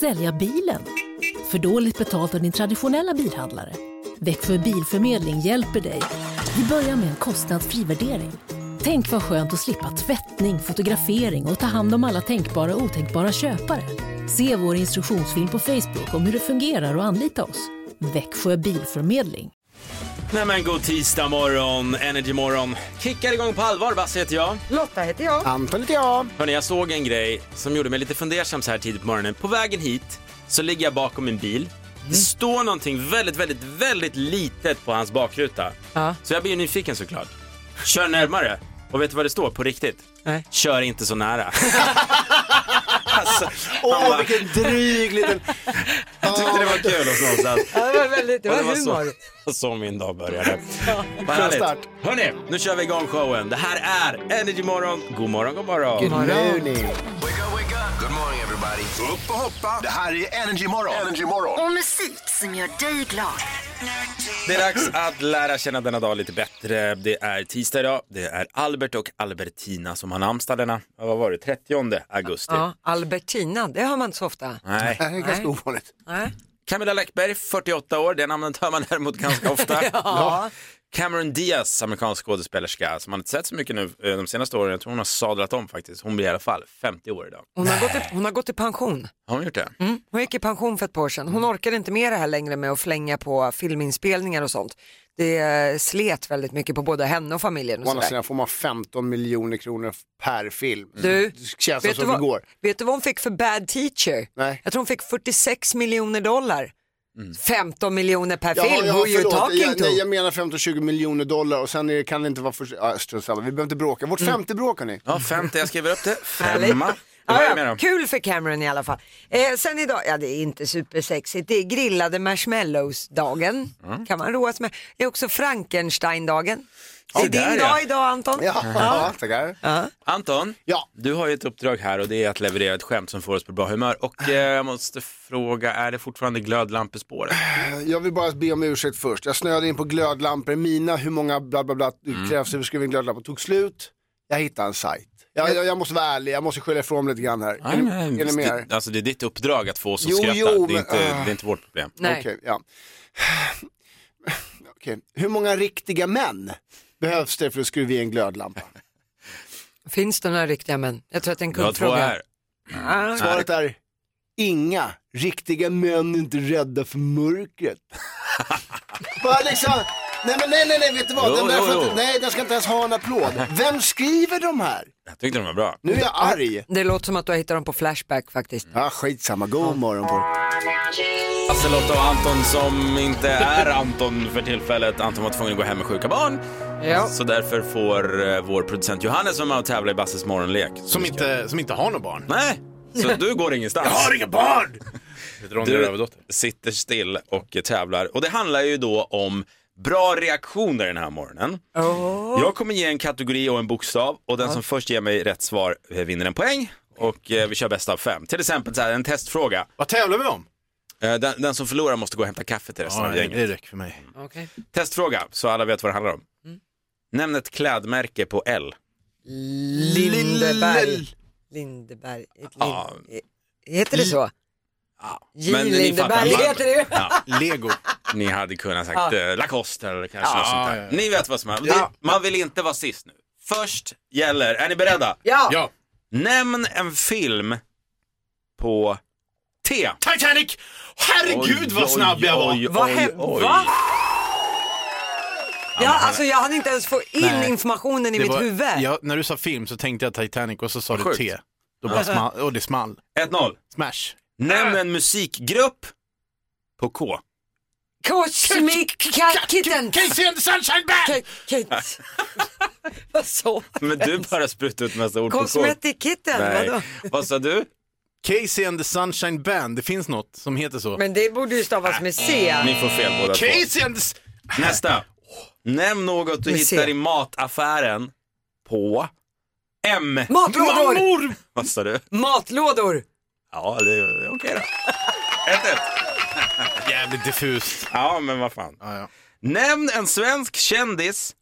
Sälja bilen? För dåligt betalt av din traditionella bilhandlare? Växjö Bilförmedling hjälper dig. Vi börjar med en kostnadsfri värdering. Tänk vad skönt att slippa tvättning, fotografering och ta hand om alla tänkbara och otänkbara köpare. Se vår instruktionsfilm på Facebook om hur det fungerar och anlita oss. Växjö Bilförmedling. Nej men god tisdag morgon, energy morgon. Kickar igång på allvar, Basse heter jag. Lotta heter jag. Anton heter jag. Hörni, jag såg en grej som gjorde mig lite fundersam så här tidigt på morgonen. På vägen hit så ligger jag bakom en bil. Mm. Det står någonting väldigt, väldigt, väldigt litet på hans bakruta. Ja. Så jag blir ju nyfiken såklart. Kör närmare. Och vet du vad det står på riktigt? Nej. Kör inte så nära. alltså, Åh, man bara, vilken dryg liten... jag tyckte det var kul också någonstans. Ja, det var väldigt, det Och var så, humor. så min dag började. Vad Bra härligt. start. Hörni, nu kör vi igång showen. Det här är Energy Morgon. God morgon, god morgon. Nu ni. Wake up, wake up. Good morning everybody. Upp och hoppa. Det här är Energy Morgon. Energy Morgon. Och musik som gör dig glad. Det är dags att lära känna denna dag lite bättre. Det är tisdag idag. Det är Albert och Albertina som har namnsdag denna, ja, vad var det, 30 augusti. Ja, Albertina, det hör man inte så ofta. Nej. Det här är ganska Nej. ovanligt. Nej. Camilla Läckberg, 48 år, det namnet hör man däremot ganska ofta. Ja. Cameron Diaz, amerikansk skådespelerska, som man inte sett så mycket nu eh, de senaste åren. Jag tror hon har sadlat om faktiskt. Hon blir i alla fall 50 år idag. Hon, har gått i, hon har gått i pension. Har hon gjort det? Mm. Hon gick i pension för ett par år sedan. Hon orkade inte med det här längre med att flänga på filminspelningar och sånt. Det eh, slet väldigt mycket på både henne och familjen. Å Och andra sådär. sidan får man 15 miljoner kronor per film. Du, det känns som du det vad, går. vet du vad hon fick för bad teacher? Nej. Mm. Jag tror hon fick 46 miljoner dollar. 15 miljoner per film, who you förlåt. talking jag, to? nej, jag menar 15-20 miljoner dollar och sen är det, kan det inte vara för... Ja, strunt samma. vi behöver inte bråka. Vårt Mm. femte bråk hörni. Ja, 50. Jag skriver upp det. Härligt. Femma. Det var Ja, det ja, med då. kul för Cameron i alla fall. Eh, sen idag, ja det är inte supersexigt, det är grillade marshmallows-dagen. Mm. Kan man roa sig med. Det är också Frankenstein-dagen. det är där, din ja. dag idag Anton. Ja, ja. tackar. Anton, Ja. du har ju ett uppdrag här och det är att leverera ett skämt som får oss på bra humör. Och eh, jag måste fråga, är det fortfarande glödlampespåret? Jag vill bara be om ursäkt först. Jag snöade in på glödlampor. Mina, hur många bla bla bla Mm. krävs det för att skriva en glödlampa? Tog slut. Jag hittade en sajt. Jag, jag, jag måste vara ärlig, jag måste skylla ifrån mig lite grann här. är, ni- är ni med? här? det, alltså det är ditt uppdrag att få oss att Jo, skratta. jo, det, är men, inte, ah. det är inte vårt problem. Nej. Okej, ja. Okej. Hur många riktiga män behövs det för att skruva i en glödlampa? Finns det några riktiga män? Jag tror att det är en Du har kul två fråga. här. Ah, Svaret är inga. Riktiga män är inte rädda för mörkret. Bara liksom, nej men nej nej nej vet du vad, Jo, den, där jo, får jo. Inte, nej, den ska inte ens ha en applåd. Vem skriver de här? Jag tyckte de var bra. Nu är jag arg. det låter som att du har hittat dem på Flashback faktiskt. Ja skitsamma, god morgon på er. Alltså Lotta och Anton som inte är Anton för tillfället. Anton var tvungen att gå hem med sjuka barn. Ja. Så därför får eh, vår producent Johannes vara med och tävla i Basses morgonlek. Som inte, som inte har något barn. Nej, så du går ingenstans. inga barn! Du sitter still och tävlar. Och det handlar ju då om bra reaktioner den här morgonen. Jag kommer ge en kategori och en bokstav och den som först ger mig rätt svar eh, vinner en poäng. Och eh, vi kör bäst av fem. Till exempel så här, en testfråga. Vad tävlar vi om? Eh, den, den som förlorar måste gå och hämta kaffe till resten av gänget. räcker för mig. Okej. Testfråga, så alla vet vad det handlar om. Nämn ett klädmärke på L. Lindeberg. Lindeberg. Lin... Ja. Heter det så? J. men ni Lindeberg fattar. heter det ju. Ja, Lego. ni hade kunnat sagt eh, Lacoste eller kanske Ja, något sånt där. ja, ja. Ni vet vad som händer. Ja. Det- Man vill inte vara sist nu. Först gäller, är ni beredda? Ja. Ja. Nämn en film på T. Titanic! Herregud Oj, vad snabb jag var! oj, oj, Vad oj, hände? oj. Va? Ja, alltså jag hann inte ens få in Nej. informationen i mitt huvud. Ja, när du sa film så tänkte jag Titanic och så sa du Sjukt. T. Då bara Alltså- small, och det small. 1-0. Smash. Nämn Äh. en musikgrupp på K. Cosmic Cat Kitten. Casey and the Sunshine Band! Cat- Cat- Vad sa Men du bara sprutade ut massa ord på K. Cosmetic Kitten, vadå? Nej. Vad sa du? Casey and the Sunshine Band, det finns något som heter så. Men det borde ju stavas med C. Ni får fel båda två. Casey and the... s- Nästa. Nämn något du Vi ser. hittar i mataffären på M. Matlådor! Mammor! Vad sa du? Matlådor! Ja, det är okej då. 1-1. Jävligt diffust. Ja, men vad fan. Ja, ja. Nämn en svensk kändis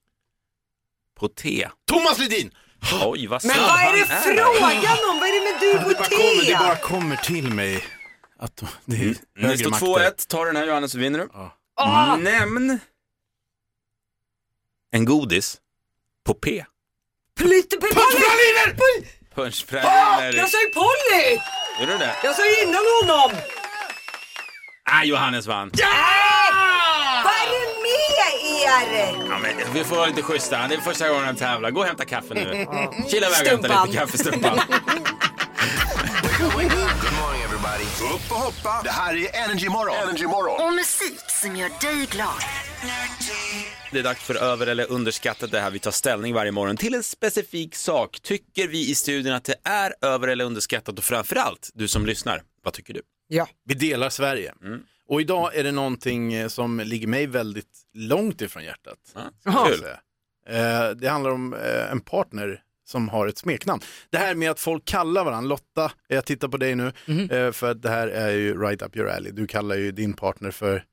på T. Thomas Ledin! Oj, vad Men snabb vad är han det frågan om? Vad är det med du och Det bara kommer, det T? bara kommer till mig. Att de- det är Det högre Mm. står makter. 2-1, ta den här Johannes så vinner du. Ja. Nämn en godis på P. Pyttepraliner! Punschpraliner. Jag sa ju Polly! Gjorde du det? Jag sa ju innan honom! Nej, Johannes vann. Vad är det med er? Ja, men vi får vara lite schyssta. Det är första gången han tävlar. Gå och hämta kaffe nu. Kila iväg och hämta Stumpan. lite kaffe, stumpan. Good morning everybody. Upp och hoppa. Det här är Energy Morgon. Energy Morgon. Och musik som gör dig glad. Det är dags för över eller underskattat det här vi tar ställning varje morgon till en specifik sak. Tycker vi i studion att det är över eller underskattat och framförallt du som lyssnar, vad tycker du? Ja. Vi delar Sverige. Mm. Och idag är det någonting eh, som ligger mig väldigt långt ifrån hjärtat. Ja, kan jag kul. säga. Eh, Det handlar om eh, en partner som har ett smeknamn. Det här med att folk kallar varandra, Lotta, jag tittar på dig nu, Mhm. eh, för att det här är ju right up your alley. Du kallar ju din partner för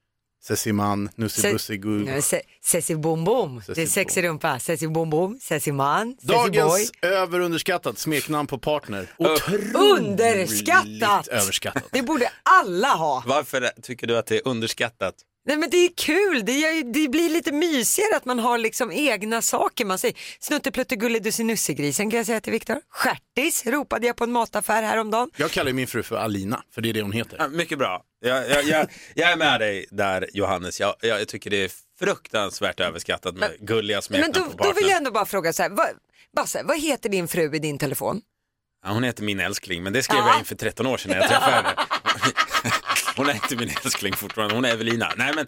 Sessiman, Se- Nussibussigu. Nej, se- Sessi bom bom. Sessi Det är sexig rumpa. Sessi bom bom. Sessi man. Sessi boy. Dagens överunderskattat smeknamn på partner. Otroligt Underskattat! Överskattat. Det borde alla ha. Varför tycker du att det är underskattat? Nej men det är kul, det, gör ju, det blir lite mysigare att man har liksom egna saker man säger. Snuttepluttegulledussinussegrisen kan jag säga till Viktor. Stjärtis ropade jag på en mataffär häromdagen. Jag kallar ju min fru för Alina, för det är det hon heter. Ja, Mycket bra. Jag, jag, jag, jag är med dig där Johannes. Jag, jag, tycker det är fruktansvärt överskattat med gulliga Men smeknamn då, på då vill partnern. jag ändå bara fråga så här, vad, Basse, vad heter din fru i din telefon? Ja, hon heter min älskling, men det skrev Ja. jag in för 13 år sedan när jag träffade henne. Hon är inte min älskling fortfarande, hon är Evelina. Nej men,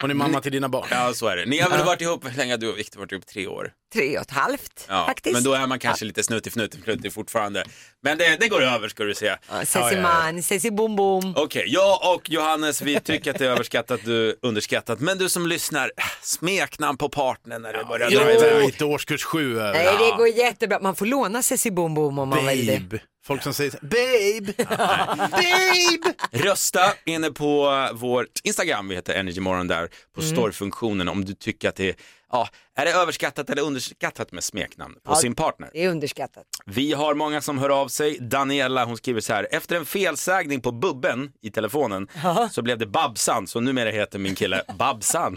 Hon är mamma till dina barn. ja så är det. Ni har väl varit ihop, hur länge har du och Viktor varit ihop? Tre år? Tre och ett halvt Ja, faktiskt. Men då är man kanske lite snuttig, fnuttig, fnuttig fortfarande. Men det, det går över ska du se. Ja, Sessi man, sessi bom bom. Okej, jag och Johannes, vi tycker att det är överskattat, du underskattat. Men du som lyssnar, smeknamn på partnern när det börjar Jag dra är iväg. inte årskurs sju över. Nej det går jättebra, man får låna sessi bom bom om man vill det. Babe. Folk som säger så här, babe. babe. Rösta inne på vårt Instagram, vi heter Energymorgon där, på storyfunktionen om du tycker att det är, ja, är det överskattat eller underskattat med smeknamn på sin partner? Det är underskattat. Vi har många som hör av sig. Daniela hon skriver så här. Efter en felsägning på bubben i telefonen så blev det Babsan. Så numera heter min kille Babsan.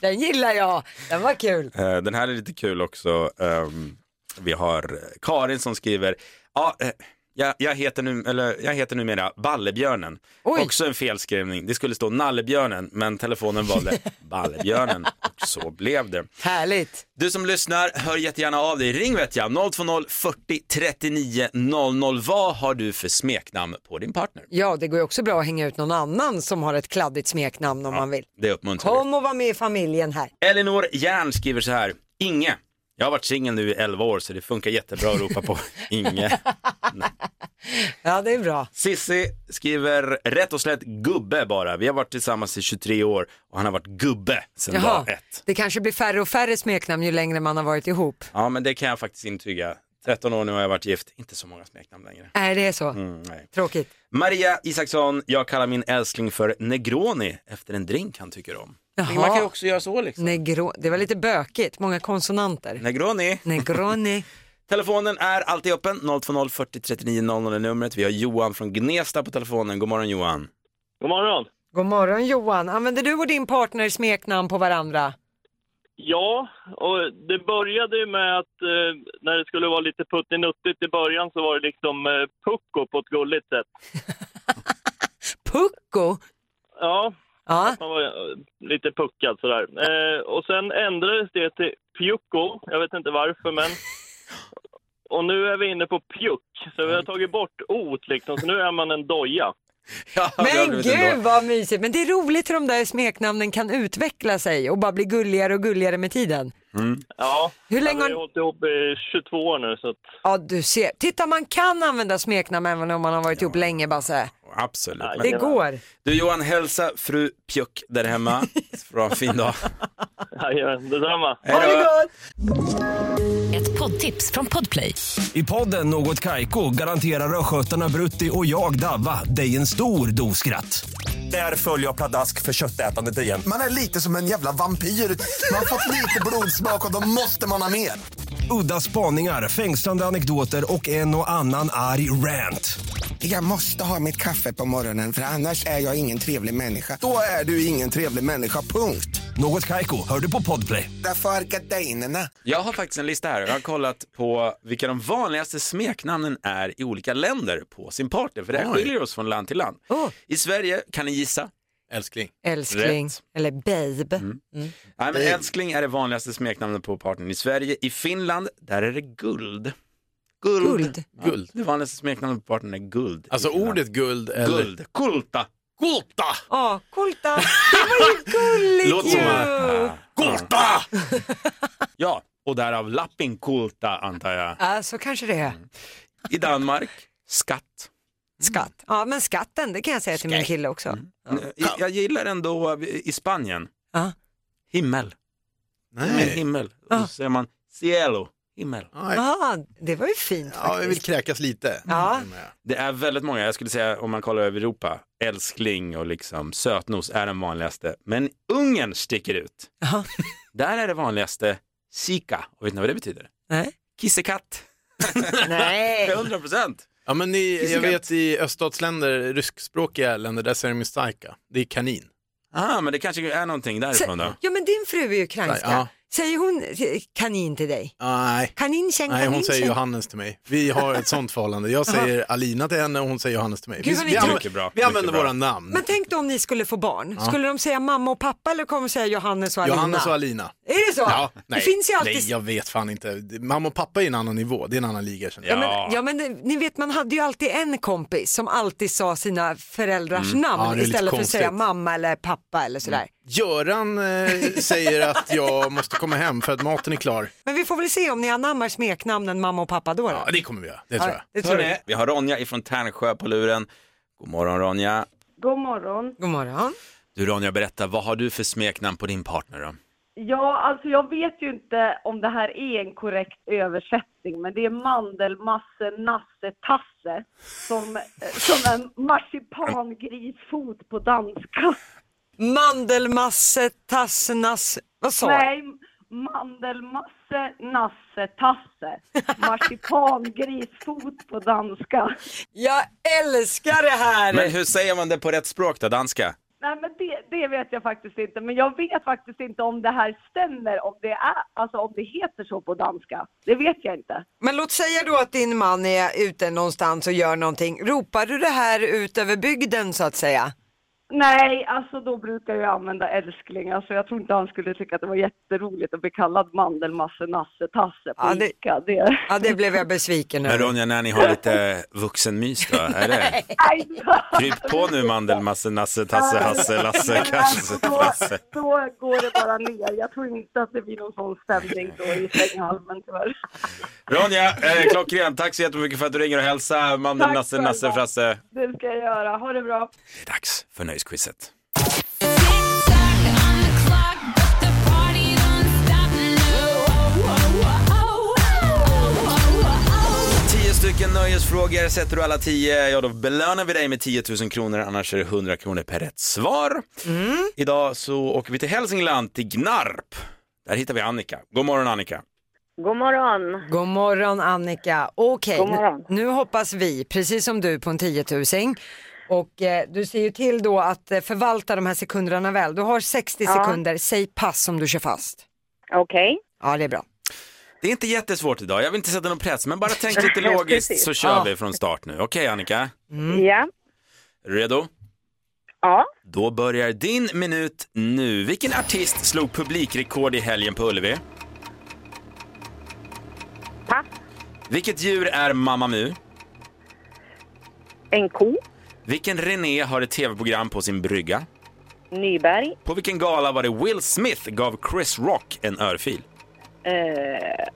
Den gillar jag, den var kul. Eh, Den här är lite kul också. Ehm, Vi har Karin som skriver. Ja, eh, jag, jag, heter nu, eller, jag heter numera Ballebjörnen. Oj. Också en felskrivning. Det skulle stå Nallebjörnen men telefonen valde Ballebjörnen. Och så blev det. Härligt. Du som lyssnar, hör jättegärna av dig. Ring vet jag, 020 40 39 00. Vad har du för smeknamn på din partner? Ja det går ju också bra att hänga ut någon annan som har ett kladdigt smeknamn om man vill. Det uppmuntrar Kom och var med i familjen här. vi. Elinor Järn skriver så här, Inge. Jag har varit singel nu i 11 år så det funkar jättebra att ropa på Inge. Ja, det är bra. Sissi skriver rätt och slätt gubbe bara. Vi har varit tillsammans i 23 år och han har varit gubbe sedan dag ett. Det kanske blir färre och färre smeknamn ju längre man har varit ihop. Ja men det kan jag faktiskt intyga. 13 år nu har jag varit gift, inte så många smeknamn längre. Är det så? Mm, nej. Tråkigt. Maria Isaksson, jag kallar min älskling för Negroni efter en drink han tycker om. Jaha. Man kan ju också göra så liksom. Negro... Det var lite bökigt, många konsonanter. Negroni. Negroni. Telefonen är alltid öppen, 020 40 39 00 är numret. Vi har Johan från Gnesta på telefonen. God morgon Johan. God morgon. God morgon Johan. Använder du och din partner smeknamn på varandra? Ja, och det började ju med att eh, när det skulle vara lite puttinuttigt i början så var det liksom eh, pucko på ett gulligt sätt. Pucko? Ja, Ja, man var eh, lite puckad sådär. Eh, och sen ändrades det till pjucko, jag vet inte varför men. Och nu är vi inne på pjuck, så vi har tagit bort ot liksom, så nu är man en doja. Ja, det har men blivit ändå. gud vad mysigt. Men det är roligt hur de där smeknamnen kan utveckla sig och bara bli gulligare och gulligare med tiden. Ja, Hur länge vi har- har hållit ihop i 22 år nu så att, Ja, du ser. Titta, man kan använda smeknamn även om man har varit ihop länge, Basse. Absolut. Men- Det går. Du Johan, hälsa fru Pjuck där hemma. Bra, fin dag. ja, detsamma. Hej då. Ett poddtips från Podplay. I podden Något Kaiko garanterar östgötarna Brutti och jag, Davva, dig en stor dos skratt. Där följer jag pladask för köttätandet igen. Man är lite som en jävla vampyr. Man har fått lite blodsmak och då måste man ha mer. Udda spaningar, fängslande anekdoter och en och annan arg rant. Jag måste ha mitt kaffe på morgonen för annars är jag ingen trevlig människa. Då är du ingen trevlig människa, punkt. Något Kaiko, hör du på podplay. Därför är gardinerna. Jag har faktiskt en lista här och jag har kollat på vilka de vanligaste smeknamnen är i olika länder på sin partner. För det här Oj. skiljer oss från land till land. I Sverige, kan ni gissa? Älskling. Älskling. Rätt. Eller babe. Nej, men älskling är det vanligaste smeknamnet på partnern i Sverige. I Finland, där är det guld. Guld. Guld. Ja, Det vanligaste smeknamnet på partnern är guld. i Alltså Finland. ordet guld eller... Guld. Kulta. Gulta! Ja, kulta. Det var ju gulligt Låt som ju. att... Kulta! ja, och därav lappin kulta antar jag. Ja, så kanske det är. I Danmark, skatt. Skatt. Ja, men skatten, det kan jag säga till min kille också. Jag, jag gillar ändå eh, i Spanien, Ja. himmel. Men Nej. himmel. Och så säger man cielo, himmel. Nej. Ah, det var ju fint Ja, vi faktiskt. vill kräkas lite. Ja. Det är väldigt många, jag skulle säga om man kollar över Europa, älskling och liksom sötnos är den vanligaste. Men Ungern sticker ut. Jaha. Där är det vanligaste sika. Och vet ni vad det betyder? Nej. Kissekatt. Nej. 100 procent. Ja, men i, jag Fiskar. vet i öststatsländer, ryskspråkiga länder, där säger de ju stajka. Det är kanin. Ah, men det kanske är någonting därifrån då. Ja, men din fru är ukrainska. Ja. Säger hon kanin till dig? Nej. Kaninchen, Nej, hon säger kaninchen. Johannes till mig. Vi har ett sånt förhållande. Jag säger Alina till henne och hon säger Johannes till mig. Gud, Vi, vad vi, ni- Mycket bra, använder, vi mycket använder bra. våra namn. Men tänk då om ni skulle få barn. Skulle de säga mamma och pappa eller kommer de säga Johannes och Alina? Johannes och Alina. Är det så? Ja, nej, det finns ju alltid... nej, jag vet fan inte. Det- Mamma och pappa är en annan nivå, det är en annan liga. känner jag. Ja. Men, ja men eh, ni vet man hade ju alltid en kompis som alltid sa sina föräldrars Mm. Ja, det är namn lite istället för att säga konstigt. Mm. mamma eller pappa eller sådär. Göran eh, säger att jag måste komma hem för att maten är klar. Men vi får väl se om ni anammar smeknamnen mamma och pappa då. då. Ja, det kommer vi göra, det tror jag. det tror Hörrni, jag. vi har Ronja ifrån Tärnsjö på luren. God morgon Ronja. God morgon. God morgon. Du Ronja, berätta, vad har du för smeknamn på din partner då? Ja, alltså jag vet ju inte om det här är en korrekt översättning, men det är mandelmasse, nasse, tasse som, eh, som en marsipangrisfot på danska. Mandelmasse, tassenas, vad sa jag? Nej, mandelmasse, nasse, tasse. Marsipangrisfot på danska. Jag älskar det här! Men hur säger man det på rätt språk då, danska? Nej, men det, det vet jag faktiskt inte, men jag vet faktiskt inte om det här stämmer, om det, är, alltså om det heter så på danska. Det vet jag inte. Men låt säga då att din man är ute någonstans och gör någonting. Ropar du det här ut över bygden så att säga? Nej, alltså då brukar jag använda älskling. Alltså jag tror inte han skulle tycka att det var jätteroligt att bli kallad mandelmasse, nasse, tasse på Ja, det- Ica. Det... Ja, det blev jag besviken Men över. Ronja, när ni har lite vuxenmys då, är det? Nej, Kryp på nu mandelmasse, nasse, tasse, hasse, lasse, men alltså, kasse, då, frasse. då går det bara ner. Jag tror inte att det blir någon sån stämning då i sänghalmen tyvärr. Ronja, eh, klockrent. Tack så jättemycket för att du ringer och hälsar mandel, Tack nasse, själva. nasse, frasse. Det ska jag göra. Ha det bra. Det är dags för nöjesquizet. Tio stycken nöjesfrågor. Sätter du alla tio, ja då belönar vi dig med 10 000 kronor, annars är det 100 kronor per rätt svar. Mm. Idag så åker vi till Hälsingland, till Gnarp. Där hittar vi Annika. God morgon Annika. God morgon. God morgon Annika. Okej, God morgon. nu, nu hoppas vi, precis som du, på en tiotusing. Och eh, du ser ju till då att eh, förvalta de här sekunderna väl. Du har 60 sekunder, säg pass om du kör fast. Okej. Ja, det är bra. Det är inte jättesvårt idag, jag vill inte sätta någon press, men bara tänk lite logiskt så kör Ja. vi från start nu. Okej Annika, Ja. är du redo? Ja. Då börjar din minut nu. Vilken artist slog publikrekord i helgen på Ullevi? Pass. Vilket djur är Mamma Mu? En ko. Vilken René har ett tv-program på sin brygga? Nyberg. På vilken gala var det Will Smith gav Chris Rock en örfil? Eh,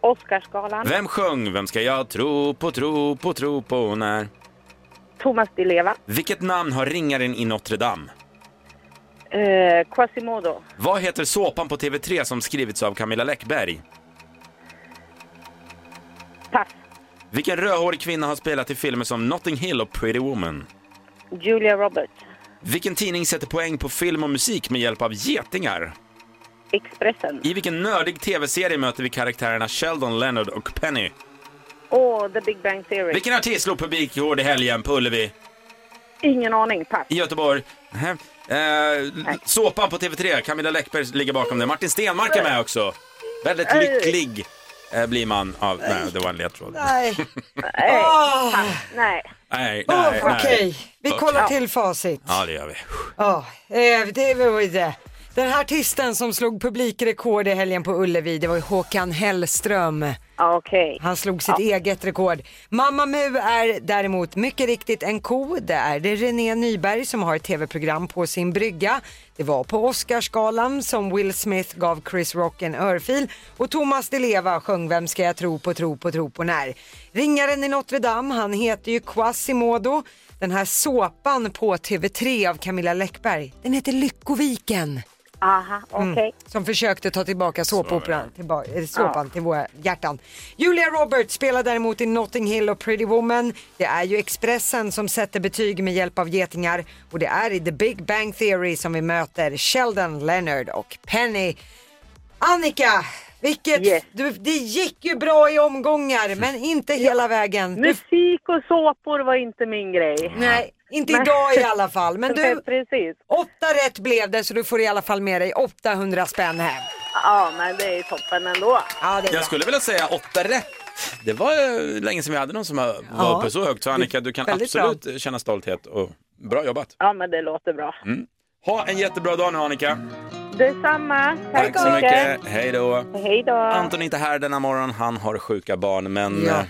Oscarsgalan. Vem sjöng Vem ska jag tro på, tro på, tro på när? Thomas Di Leva. Vilket namn har ringaren i Notre Dame? Eh, Quasimodo. Vad heter såpan på TV3 som skrivits av Camilla Läckberg? Pass. Vilken rödhårig kvinna har spelat i filmer som Notting Hill och Pretty Woman? Julia Roberts. Vilken tidning sätter poäng på film och musik med hjälp av getingar? Expressen. I vilken nördig tv-serie möter vi karaktärerna Sheldon, Leonard och Penny? Åh, The Big Bang Theory. Vilken artist slog publikrekord i helgen på Ullevi? Ingen aning, pass. I Göteborg? Nähä. Eh, såpan på TV3, Camilla Läckberg ligger bakom det. Martin Stenmarck är med också. Väldigt Nej. lycklig eh, blir man av... Nej, det var en ledtråd. Nej. Nej, Ah! pass. Nej. Nej, nej, Åh, nej. Okej, vi kollar Ja. till facit. Ja, det gör vi. Ja, eh, det var ju det. Den här artisten som slog publikrekord i helgen på Ullevi, det var ju Håkan Hellström. Okej. Han slog sitt eget rekord. Mamma Mu är däremot mycket riktigt en ko. Det är det René Nyberg som har ett tv-program på sin brygga. Det var på Oscarsgalan som Will Smith gav Chris Rock en örfil och Thomas Di Leva sjöng Vem ska jag tro på, tro på, tro på när. Ringaren i Notre Dame, han heter ju Quasimodo. Den här såpan på TV3 av Camilla Läckberg, den heter Lyckoviken. Aha, okej. Mm, som försökte ta tillbaka såpoperan, tillba eh, såpan Ja. till våra hjärtan. Julia Roberts spelar däremot i Notting Hill och Pretty Woman. Det är ju Expressen som sätter betyg med hjälp av getingar och det är i The Big Bang Theory som vi möter Sheldon Leonard och Penny. Annika, vilket, du, det gick ju bra i omgångar men inte hela vägen. Du- Musik och såpor var inte min grej. Nej, inte Men- idag i alla fall. Men du, Nej, precis. åtta rätt blev det så du får i alla fall med dig 800 spänn hem. Ja, men det är toppen ändå. Ja, det är bra. Jag skulle vilja säga åtta rätt. Det var eh, länge sedan vi hade någon som var Ja. uppe så högt. Så Annika, du kan Väldigt bra. absolut känna stolthet. Och bra jobbat. Ja, men det låter bra. Mm. Ha en jättebra dag nu Annika. Detsamma. Tack, Tack så mycket. Hej då. Hej då. Anton är inte här denna morgon. Han har sjuka barn, men Ja. eh,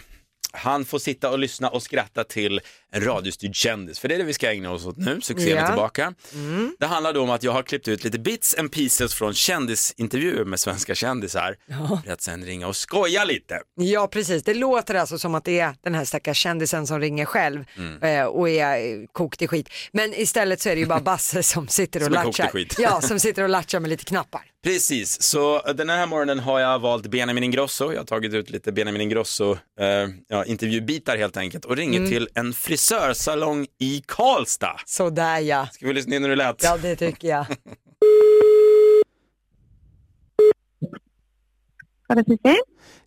han får sitta och lyssna och skratta till en radiostyrd kändis. För det är det vi ska ägna oss åt nu. Succén Ja. är tillbaka. Mm. Det handlar då om att jag har klippt ut lite bits and pieces från kändisintervjuer med svenska kändisar. För att sen ringa och skoja lite. Ja precis, det låter alltså som att det är den här stackars kändisen som ringer själv Mm. eh, och är eh, kokt i skit. Men istället så är det ju bara Basse som sitter och Som är kokt i latchar. skit. Ja, som sitter och latchar med lite knappar. Precis, så den här morgonen har jag valt Benjamin Ingrosso. Jag har tagit ut lite Benjamin Ingrosso eh, ja, intervjubitar helt enkelt och ringer Mm. till en frisörsalong i Karlstad. Sådär ja. Ska vi lyssna in hur det lät? Ja det tycker jag.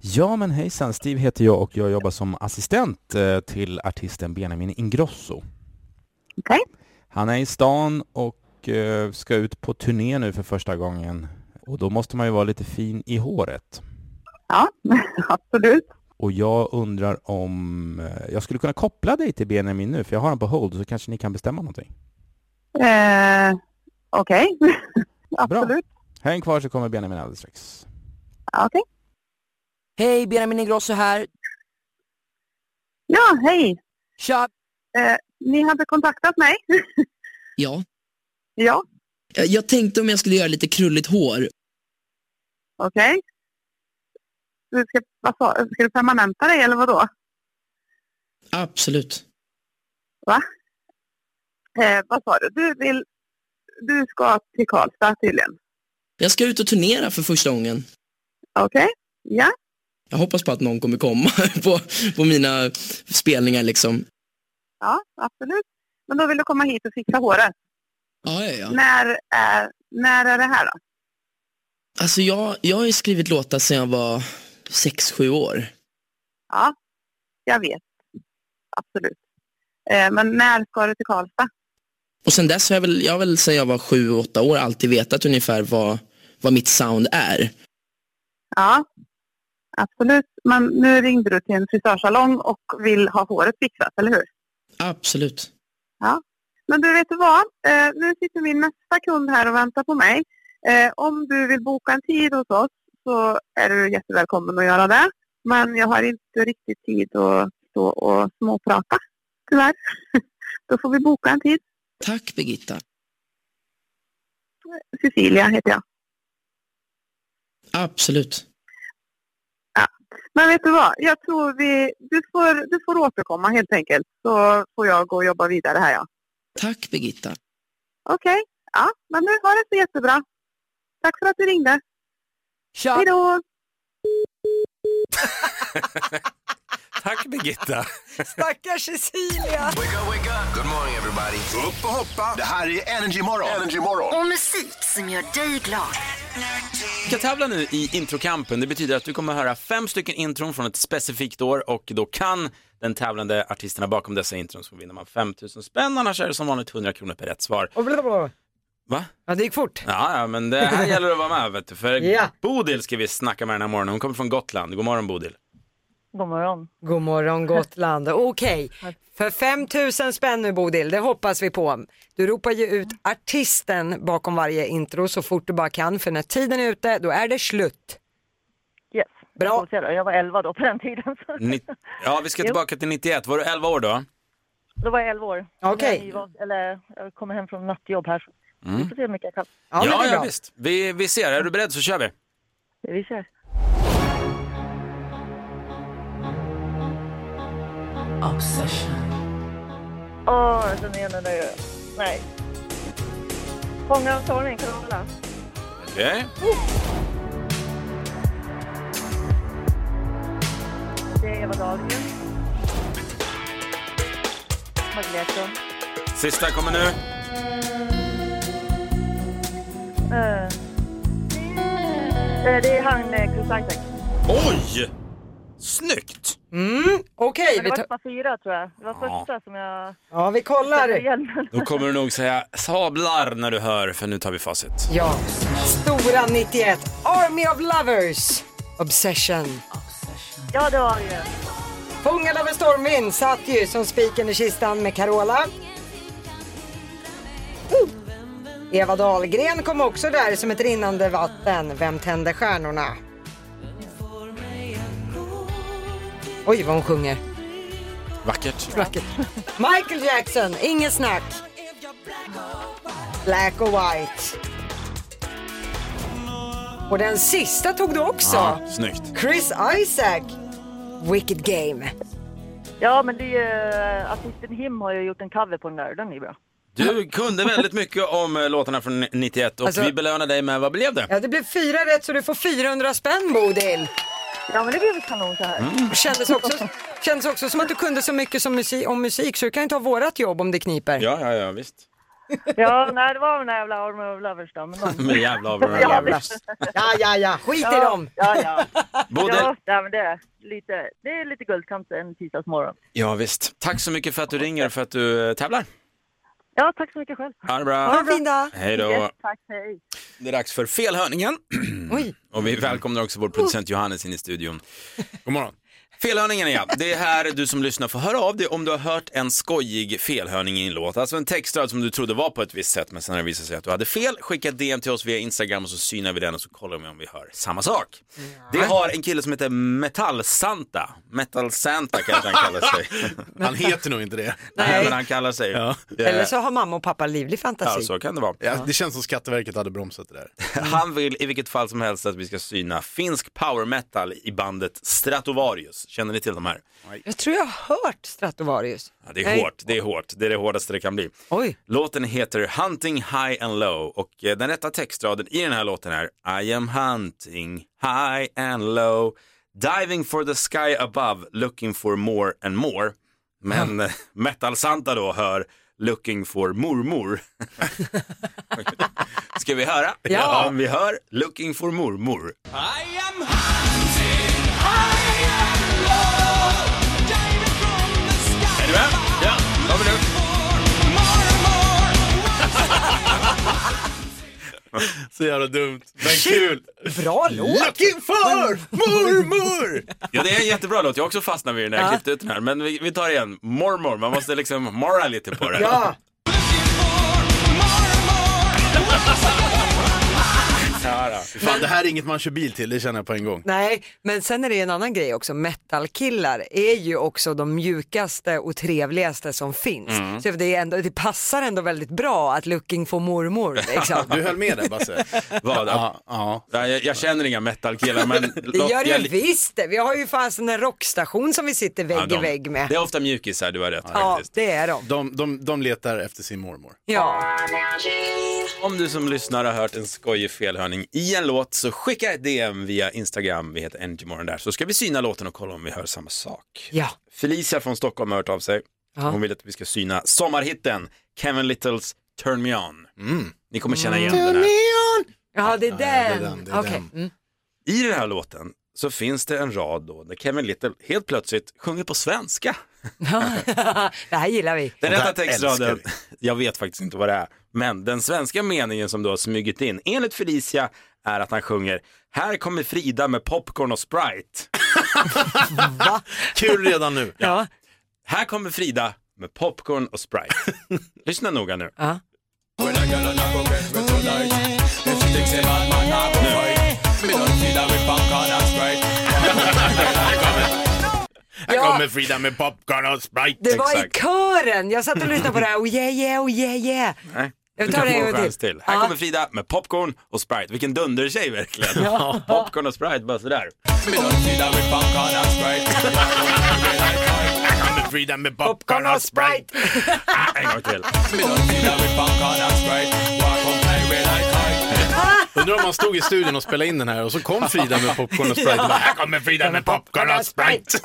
Ja men hejsan, Steve heter jag och jag jobbar som assistent eh, till artisten Benjamin Ingrosso. Han är i stan och eh, ska ut på turné nu för första gången och då måste man ju vara lite fin i håret. Ja, absolut. Och jag undrar om eh, jag skulle kunna koppla dig till Benjamin nu för jag har honom på hold så kanske ni kan bestämma någonting. Eh, Okej. Absolut. Häng kvar så kommer Benjamin alldeles strax. Okej. Hej, Benjamin Ingrosso här. Ja, hej. Tja. Eh, ni hade kontaktat mig. Ja. Ja. Jag, jag tänkte om jag skulle göra lite krulligt hår. Okej. Du ska, vad sa, ska du permanenta dig eller vadå? Absolut. Va? Eh, vad sa du? Du, vill, du ska till Karlstad tydligen. Jag ska ut och turnera för första gången. Okej. Ja. Jag hoppas på att någon kommer komma på, på mina spelningar liksom. Ja, absolut. Men då vill du komma hit och fixa håret. Ja, ja, ja. När, är, när är det här då? Alltså jag, jag har ju skrivit låtar sedan jag var sex sju år. Ja, jag vet. Absolut. Eh, men när ska du till Karlstad? Och sen dess har jag väl, jag har väl sedan jag var sju åtta år alltid vetat ungefär vad, vad mitt sound är. Ja, absolut. Men nu ringde du till en frisörsalong och vill ha håret fixat, eller hur? Absolut. Ja. Men du, vet du vad? Eh, nu sitter min nästa kund här och väntar på mig. Eh, om du vill boka en tid hos oss så är du jättevälkommen att göra det. Men jag har inte riktigt tid att stå och småprata, tyvärr. Då får vi boka en tid. Tack Birgitta. Cecilia heter jag. Absolut. Men vet du vad? Jag tror vi... Du får, du får återkomma helt enkelt. Så får jag gå och jobba vidare här, ja. Tack Birgitta. Okej. Ja, men nu har det så jättebra. Tack för att du ringde. Tja. Hej då! Tack Birgitta. Stackars Cecilia. Good morning everybody. Upp och hoppa. Det här är Energy Morgon. Energy Morgon. Och musik som gör dig glad. Vi ska tävla nu i introkampen. Det betyder att du kommer höra fem stycken intron från ett specifikt år och då kan den tävlande artisterna bakom dessa intron så vinner man 5 000 spänn. Annars är det som vanligt 100 kronor per rätt svar. Och blablabla. Va? Ja, det gick fort. Ja, ja, men det här gäller att vara med vet du. För Bodil ska vi snacka med den här morgonen. Hon kommer från Gotland. God morgon Bodil. God morgon. God morgon Gotland. Okej, för 5 000 spänn nu Bodil, det hoppas vi på. Du ropar ju ut artisten bakom varje intro så fort du bara kan för när tiden är ute då är det slut. Yes. Bra. Jag, jag var 11 då på den tiden. Så. Ni... Ja, vi ska Jo. tillbaka till 91. Var du 11 år då? Då var jag 11 år. Okej. Jag var- Eller jag kommer hem från nattjobb här. så Mm. Vi får se hur mycket jag kan. ja, ja visst. Vi, vi ser. Är du beredd så kör vi. Vi kör. Obsession. Åh, jag känner igen den där. Nej. Fångar av stormen, Carola. Okej. Det är Eva Dahlgren. Magneto. Sista kommer nu. Eh. Eh, Det är han, eh, Chris Isaac. Oj! Snyggt! Mm, okej. Men det vi var tar- bara fyra tror jag. Det var Ja. första som jag... Ja, vi kollar. Då kommer du nog säga sablar när du hör, för nu tar vi facit. Ja, stora 91, Army of Lovers, Obsession. Ja, det var det ju. Fångad av en stormvind satt ju som spiken i kistan med Carola. Oh! Eva Dahlgren kom också där som ett rinnande vatten. Vem tände stjärnorna? Oj, vad hon sjunger. Vackert. Vackert. Michael Jackson, inget snack. Black och White. Och den sista tog du också. Ja, snyggt. Chris Isaac, Wicked Game. Ja, men det är ju... eh, Artisten Him har ju gjort en cover på den där. Den är ju bra. Du kunde väldigt mycket om eh, låtarna från 91 och Alltså- vi belönar dig med, vad blev det? Ja, det blev fyra rätt så du får 400 spänn Bodil. Ja, men det blev väl kanon så här. Mm. Kändes också, kändes också som att du kunde så mycket som musik, om musik så du kan ju ta vårat jobb om det kniper. Ja, ja, ja, visst. Ja, nej, det var den där jävla Army of Lovers då. Men de... Med Mm, jävla Army of Lovers. Ja, ja, ja, skit i dem. Ja, ja. Bodil. Ja, nej, men det, är lite, det är lite guldkant en tisdagsmorgon. Ja, visst. Tack så mycket för att du ringer och för att du eh, tävlar. Ja, tack så mycket själv. Ha det bra. Ha en fin dag. Hej då. Yes, tack, hej. Det är dags för felhörningen. Oj. Och vi välkomnar också vår producent Johannes in i studion. God morgon. Felhörningen ja, det är här du som lyssnar får höra av dig om du har hört en skojig felhörning i en låt. Alltså en textrad som du trodde var på ett visst sätt men sen har det visat sig att du hade fel. Skicka ett DM till oss via Instagram och så synar vi den och så kollar vi om vi hör samma sak. Det har en kille som heter Metallsanta. Metallsanta kanske han kallar sig. Han heter nog inte det. Nej men han kallar sig. Eller så har mamma och pappa livlig fantasi. Eh. Ja, så kan det vara. Ja, det känns som Skatteverket hade bromsat det där. Han vill i vilket fall som helst att vi ska syna finsk power metal i bandet Stratovarius. Känner ni till de här? Jag tror jag har hört Stratovarius. Ja, det är Nej. hårt, det är hårt. Det är det hårdaste det kan bli. Oj. Låten heter Hunting High and Low och eh, den rätta textraden i den här låten är I am hunting high and low, diving for the sky above, looking for more and more. Men eh, Metal Santa då hör Looking for mormor. Ska vi höra? Ja. vi hör Looking for mormor. I am hunting, I am low, diving from the sky. Är du med? Ja, då har vi det. Så jävla dumt. Men kul! Bra låt. Looking for mormor! Ja, det är en jättebra låt. Jag har också fastnat vid den här, Ja. klippt ut den här. Men vi, vi tar igen. Mormor, man måste liksom morra lite på det. Ja. Ja, då. Fan, det här är inget man kör bil till, det känner jag på en gång. Nej, men sen är det en annan grej också. Metalkillar är ju också de mjukaste och trevligaste som finns. Mm. Så det, är ändå, det passar ändå väldigt bra att looking for mormor. Liksom. Du höll med där Basse? Vad? Ja, Jag, jag känner inga metalkillar men... Det gör det ju visst det. Vi har ju fast en rockstation som vi sitter vägg Ja, de- i vägg med. Det är ofta mjukisar, du har rätt Ja, faktiskt. det är de. De, de, de letar efter sin mormor. Ja. Om du som lyssnar har hört en skojig felhörning i en låt så skicka ett DM via Instagram, vi heter Energymorgon där, så ska vi syna låten och kolla om vi hör samma sak. Ja. Felicia från Stockholm har hört av sig. Ja. Hon vill att vi ska syna sommarhitten Kevin Littles Turn Me On. Ni kommer känna igen Turn den me här. on, Ja, det är är den. den, det är Okej. den. Mm. I den här låten så finns det en rad då där Kevin Little helt plötsligt sjunger på svenska. det här gillar vi. Den rätta textraden, jag vet faktiskt inte vad det är, men den svenska meningen som du har smugit in, enligt Felicia, är att han sjunger Här kommer Frida med popcorn och Sprite. Kul redan nu. Ja. Här kommer Frida med popcorn och Sprite. Lyssna noga nu. Här Ja. kommer Frida med popcorn och Sprite. Det var i kören. Jag satt och lyssnade på det här. Oh yeah, yeah, oh yeah, yeah. Nej. Jag du tar kan det få en en gång chans till. till. Här Ja. kommer Frida med popcorn och Sprite. Vilken dundertjej verkligen. Popcorn och Sprite, bara sådär. Här kommer Frida med popcorn och Sprite. En gång till. Undrar om han stod i studion och spelade in den här och så kom Frida med popcorn och Sprite. Ja. Bara, Här kommer Frida med popcorn och Sprite.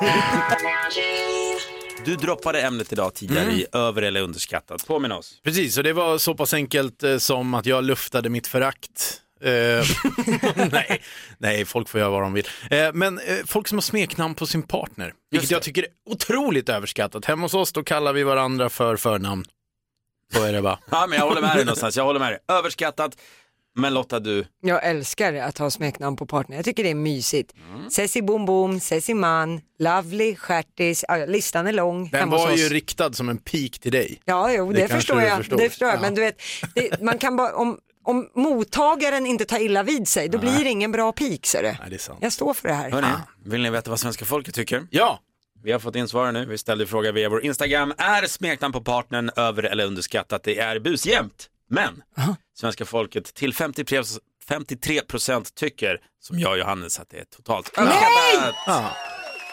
Du droppade ämnet idag tidigare i över eller underskattat. Påminn oss. Precis, och det var så pass enkelt eh, som att jag luftade mitt förakt. Eh, nej, nej, folk får göra vad de vill. Eh, men eh, folk som har smeknamn på sin partner, vilket jag tycker är otroligt överskattat. Hemma hos oss då kallar vi varandra för förnamn. Så är det bara. Ja, men jag håller med dig någonstans. Jag håller med dig. Överskattat. Men Lotta, du. Jag älskar att ha smeknamn på partner. Jag tycker det är mysigt. Ceci Boom Boom, Ceci Man, Lovely, Stjärtis. Ja, listan är lång. Den hemma hos var ju oss. riktad som en pik till dig. Ja, jo, det, Det kanske förstår du jag. förstår. Det förstår jag. Ja. Men du vet, det, man kan bara, om, om mottagaren inte tar illa vid sig, då blir det ingen bra pik, ser du. det är sant. Jag står för det här. Hörrni, ah, vill ni veta vad svenska folket tycker? Ja! Vi har fått in svaren nu. Vi ställde frågan via vår Instagram. Är smeknamn på partnern över eller underskattat? Det är busjämnt. Men svenska folket till 53 procent tycker, som jag och Johannes, att det är totalt överskattat.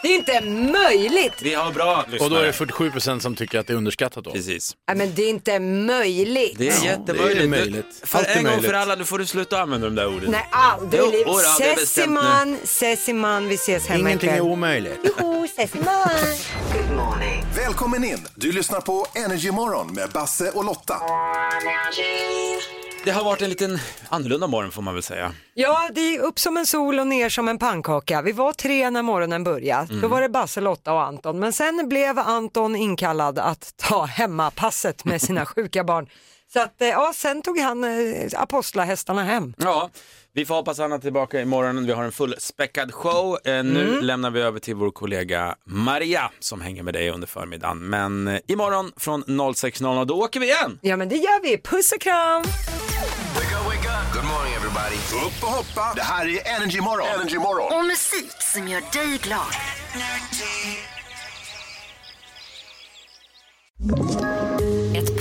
Det är inte möjligt! Vi har bra lyssnare. Och då är det 47 procent som tycker att det är underskattat då. Precis. Nej, men det är inte möjligt. Det är jättemöjligt. det är möjligt. Du, för Allt är en gång möjligt. för alla, nu får du sluta använda de där orden. Nej, aldrig i Jo, livet. oj då, det är bestämt nu. Sessiman, Sessiman, vi ses hemma Ingenting är ikväll. omöjligt. Joho, Sessiman! Välkommen in! Du lyssnar på Energymorgon med Basse och Lotta. Det har varit en liten annorlunda morgon får man väl säga. Ja, det gick upp som en sol och ner som en pannkaka. Vi var tre när morgonen började. Då Mm. var det Basse, Lotta och Anton. Men sen blev Anton inkallad att ta hemmapasset med sina sjuka barn. Så att, eh, ja, sen tog han eh, apostlahästarna hem. Ja, vi får hoppas Anna är tillbaka imorgon. Vi har en fullspäckad show. Eh, nu Mm. lämnar vi över till vår kollega Maria som hänger med dig under förmiddagen. Men eh, imorgon från 06.00, då åker vi igen! Ja, men det gör vi. Puss och kram! Good morning everybody. Upp och hoppa. Det här är Energymorgon. Energymorgon. Och musik som gör dig glad. Ett